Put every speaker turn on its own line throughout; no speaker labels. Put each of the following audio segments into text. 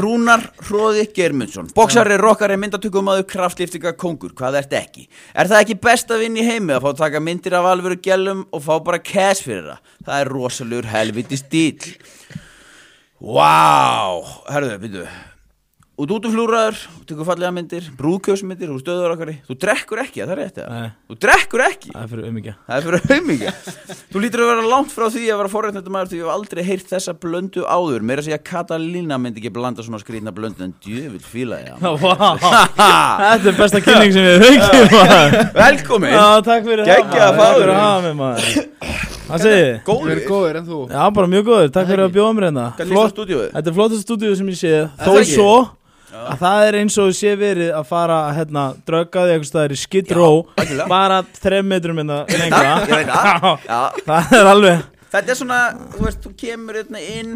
Rúnar Hróði Geirmundsson Boksari, rokkari, myndatökumaður, kraftlýftinga, kongur Hvað ert ekki? Er það ekki best að vinna í heimi að fá að taka myndir af alvöru gælum og fá bara cash fyrir það? Það er rosalur helviti stíl Vá, herðu, býtu Út út og flúraður, þú tekur fallega myndir, brúðkjöfsmyndir, þú stöður okkar Þú drekkur ekki, það er rétt eða?
Nei.
Þú drekkur ekki?
Það er fyrir umíkja
Það er fyrir haumingja Þú lítur að vera langt frá því að vera forréttnættu maður því ég hef aldrei heyrt þessa blöndu áður Meira að segja Katalína myndi ekki blanda svona skrýtna blöndu en djöfitt fíla ég hana. Ha!
Þetta er besta kynning sem við höfum maður
Velkomin
Já, takk fyrir
Geggjað að fá
Takk fyrir
þig.
að hafa mig maður Það segir þið?
Við
Góður
erum góðir en þú
Já, bara mjög góður, takk fyrir að bjóða mér hérna
Hvernig líst á
Flott-
stúdíóið?
Þetta er flottast stúdíu sem ég sé
það
Þó
ekki?
svo að það er eins og sé verið að fara hérna, drögga því eitthvað staðar í skid
Já,
ró
algjörlega.
bara þrem metrum hérna lengra
Ég veit það
Já,
Já.
það er alveg
Þetta er svona, þú veist, þú kemur hérna inn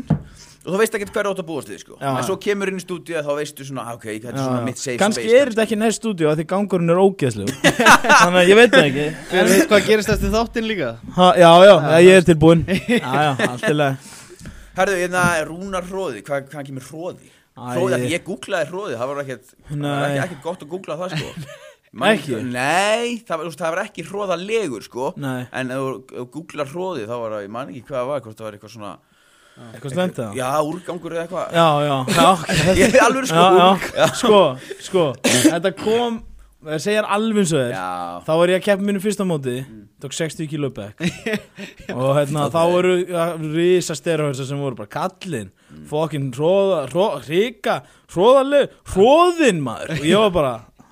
og þú veist ekkert hverju átt að búast við sko.
Já.
en svo kemur inn í stúdíu þá veistu svona "Ah, ok, þetta er svona mitt safe
Kanski
space
er þetta ekki næst stúdíu að því gangurinn er ógeðslegu Þannig að ég veit það ekki
Við veit hvað gerist eftir þáttinn líka
ha, Já, já, ég er tilbúinn Já, já, allt til að
Herðu, hérna Rúnar Hróði, hvað, hvað kemur Hróði? Hróði, af því ég googlaði Hróði, það var ekkert, það var
Nei.
ekki, ekkert gott að googla það sko. Man-
Ekki?
Nei, það var, þú veist, það var ekki hróðalegur sko,
Nei,
en ef þú ef þú googlar Hróði þá var það, ég man ekki hvað það var, hvort það var eitthvað svona,
eitthvað slenda
já, úrgangur eða eitthvað.
Já, já, já ok.
Ég er alveg sko,
Já,
úrgangur.
já, sko, sko Þetta kom, það segjar alveg svo þér
Já,
Þá var ég að keppa mínu fyrsta móti
Mm.
Tók 60 kilo back Og hérna, þá voru ja, Rísa styrhörsa sem voru bara kallinn
Mm.
Fokkin hróða, hró, hríka Hróðaleg, hróðinn maður Og ég var bara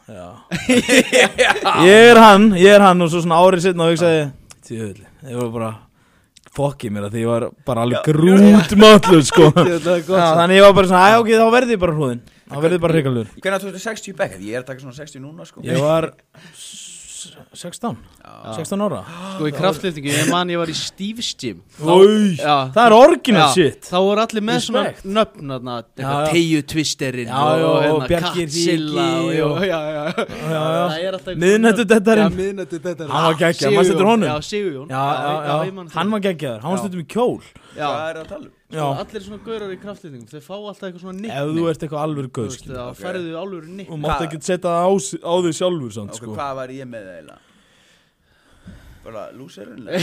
já. Ég er hann, ég er hann Og svo svona árið sitna og ég sagði Tjöðli, ég var bara Fokkin mér að því ég var bara alveg grút Möllu sko já,
Það er gott
Þannig ég var bara svona, æ ok, þá verði ég bara hróðinn Þá verði ég bara hríkalur
hvernig tókstu 60 bekk? Ég er að taka svona 60 núna sko.
Ég var s- 16 16 ára
Sko í kraftlýftingu, ég man ég var í Steve's Gym
Új,
Já.
það er
Já,
orginal shit
Þá voru allir með svona
Respect.
nöfn þarna,
Já, já.
eitthvað Teiju twisterinn
Já, já, og Bjarki
Katsilla
Ríki
og-
og-
Já, já, já
já.
Það er alltaf
Miðnættudettarinn.
Já, miðnættu dettarinn
Hann var geggjaður, manstu eftir honum?
Ah, Já, Sigurjón
Já, já, já, hann var geggjaður, hann var
Já.
stundum í kjól
Já,
Hvað er það að tala um?
Já,
Svona allir svona gaurar í kraftlýftingum Þau fá alltaf eitthvað svona nickname
ef þú ert eitthvað alveg
þú
gauð
veist,
skilur.
þá
ok.
færðu alveg nick
og mátt
Hvað-
ekki setja það á, s- á því sjálfur samt,
Ok,
sko.
hvað var ég með eiginlega? Bara lúserinn? eða?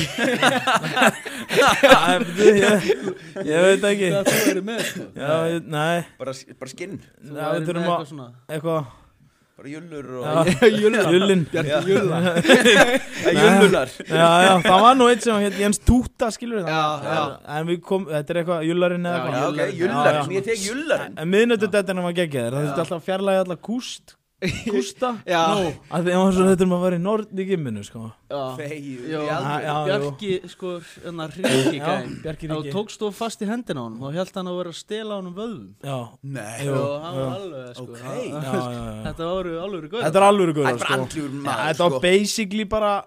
Æ, veitu, ég, ég veit ekki
Það þú eru með sko.
Já, ég- nei,
Bara, bara skinn?
Þú
Já,
værir
við
með
þurfum
eitthvað
að
svona
eitthvað
Bara jullur
Já.
og...
Jullin
Já.
Júla
Eh, Jullunar
Já, já, það var nú einn sem hétt Jens Túta skilur
Já, já.
En við kom, þetta er eitthvað jullarinn eða
Já,
eitthvað
Já, ok,
Jullarinn.
Já,
jullarinn,
já.
ég tek jullarinn
En miðnættudettarinn var geggjaður, það þurfti alltaf að fjarlæga alla kúst Kústa
Já,
Af því að maður svo hættur um að vera í norð í gimminu sko
já
Þegið,
Já.
í alvöru.
Já, jú.
Bjarki, sko, enna ríki
Já,
gæn
Bjarki
Ef
Ríki.
þú tókst þú fast í hendina á honum Þá held hann að vera að stela honum vöðum
Já,
Nei,
Jú,
Jú, hann var
jú.
alveg, sko
Ok.
hann-
já, já, já.
Þetta voru alveg gaurar
Þetta er alveg
það er
góður
bara
sko
andljúr
Já,
maður
Þetta var
sko.
basically bara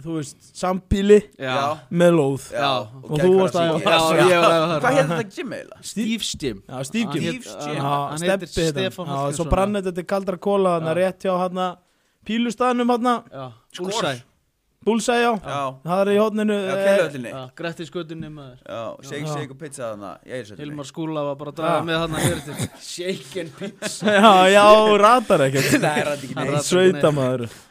Þú veist, sambíli
Já,
með lóð
já,
Og þú varst að-
já,
Hvað
ég var að höra
hérna þetta gym eiginlega?
Steve Stim
Já,
Hann
stífgjum
hét-
Já,
Hann heitir
steppi hérna
Stefán
Já, svo
Hallgrímsson.
brann þetta til kaldra kóla Þannig
Já.
rétt hjá hann Pílustaðnum hann
Já,
Skor.
Úlsæ
Búlsæ já
Já,
Það er í eh, hótninu
já, keilöðlinni
Gretti skötunni maður
Já, shake,
Já.
shake og pizza þarna Ég er svolítið
Hilmar Skúla var bara að draga
Já.
með hann að hér til Shake and pizza
Já, já, ratar ekkert
Nei, rætti ekki
Hann
neitt
ratar-
Sveita maður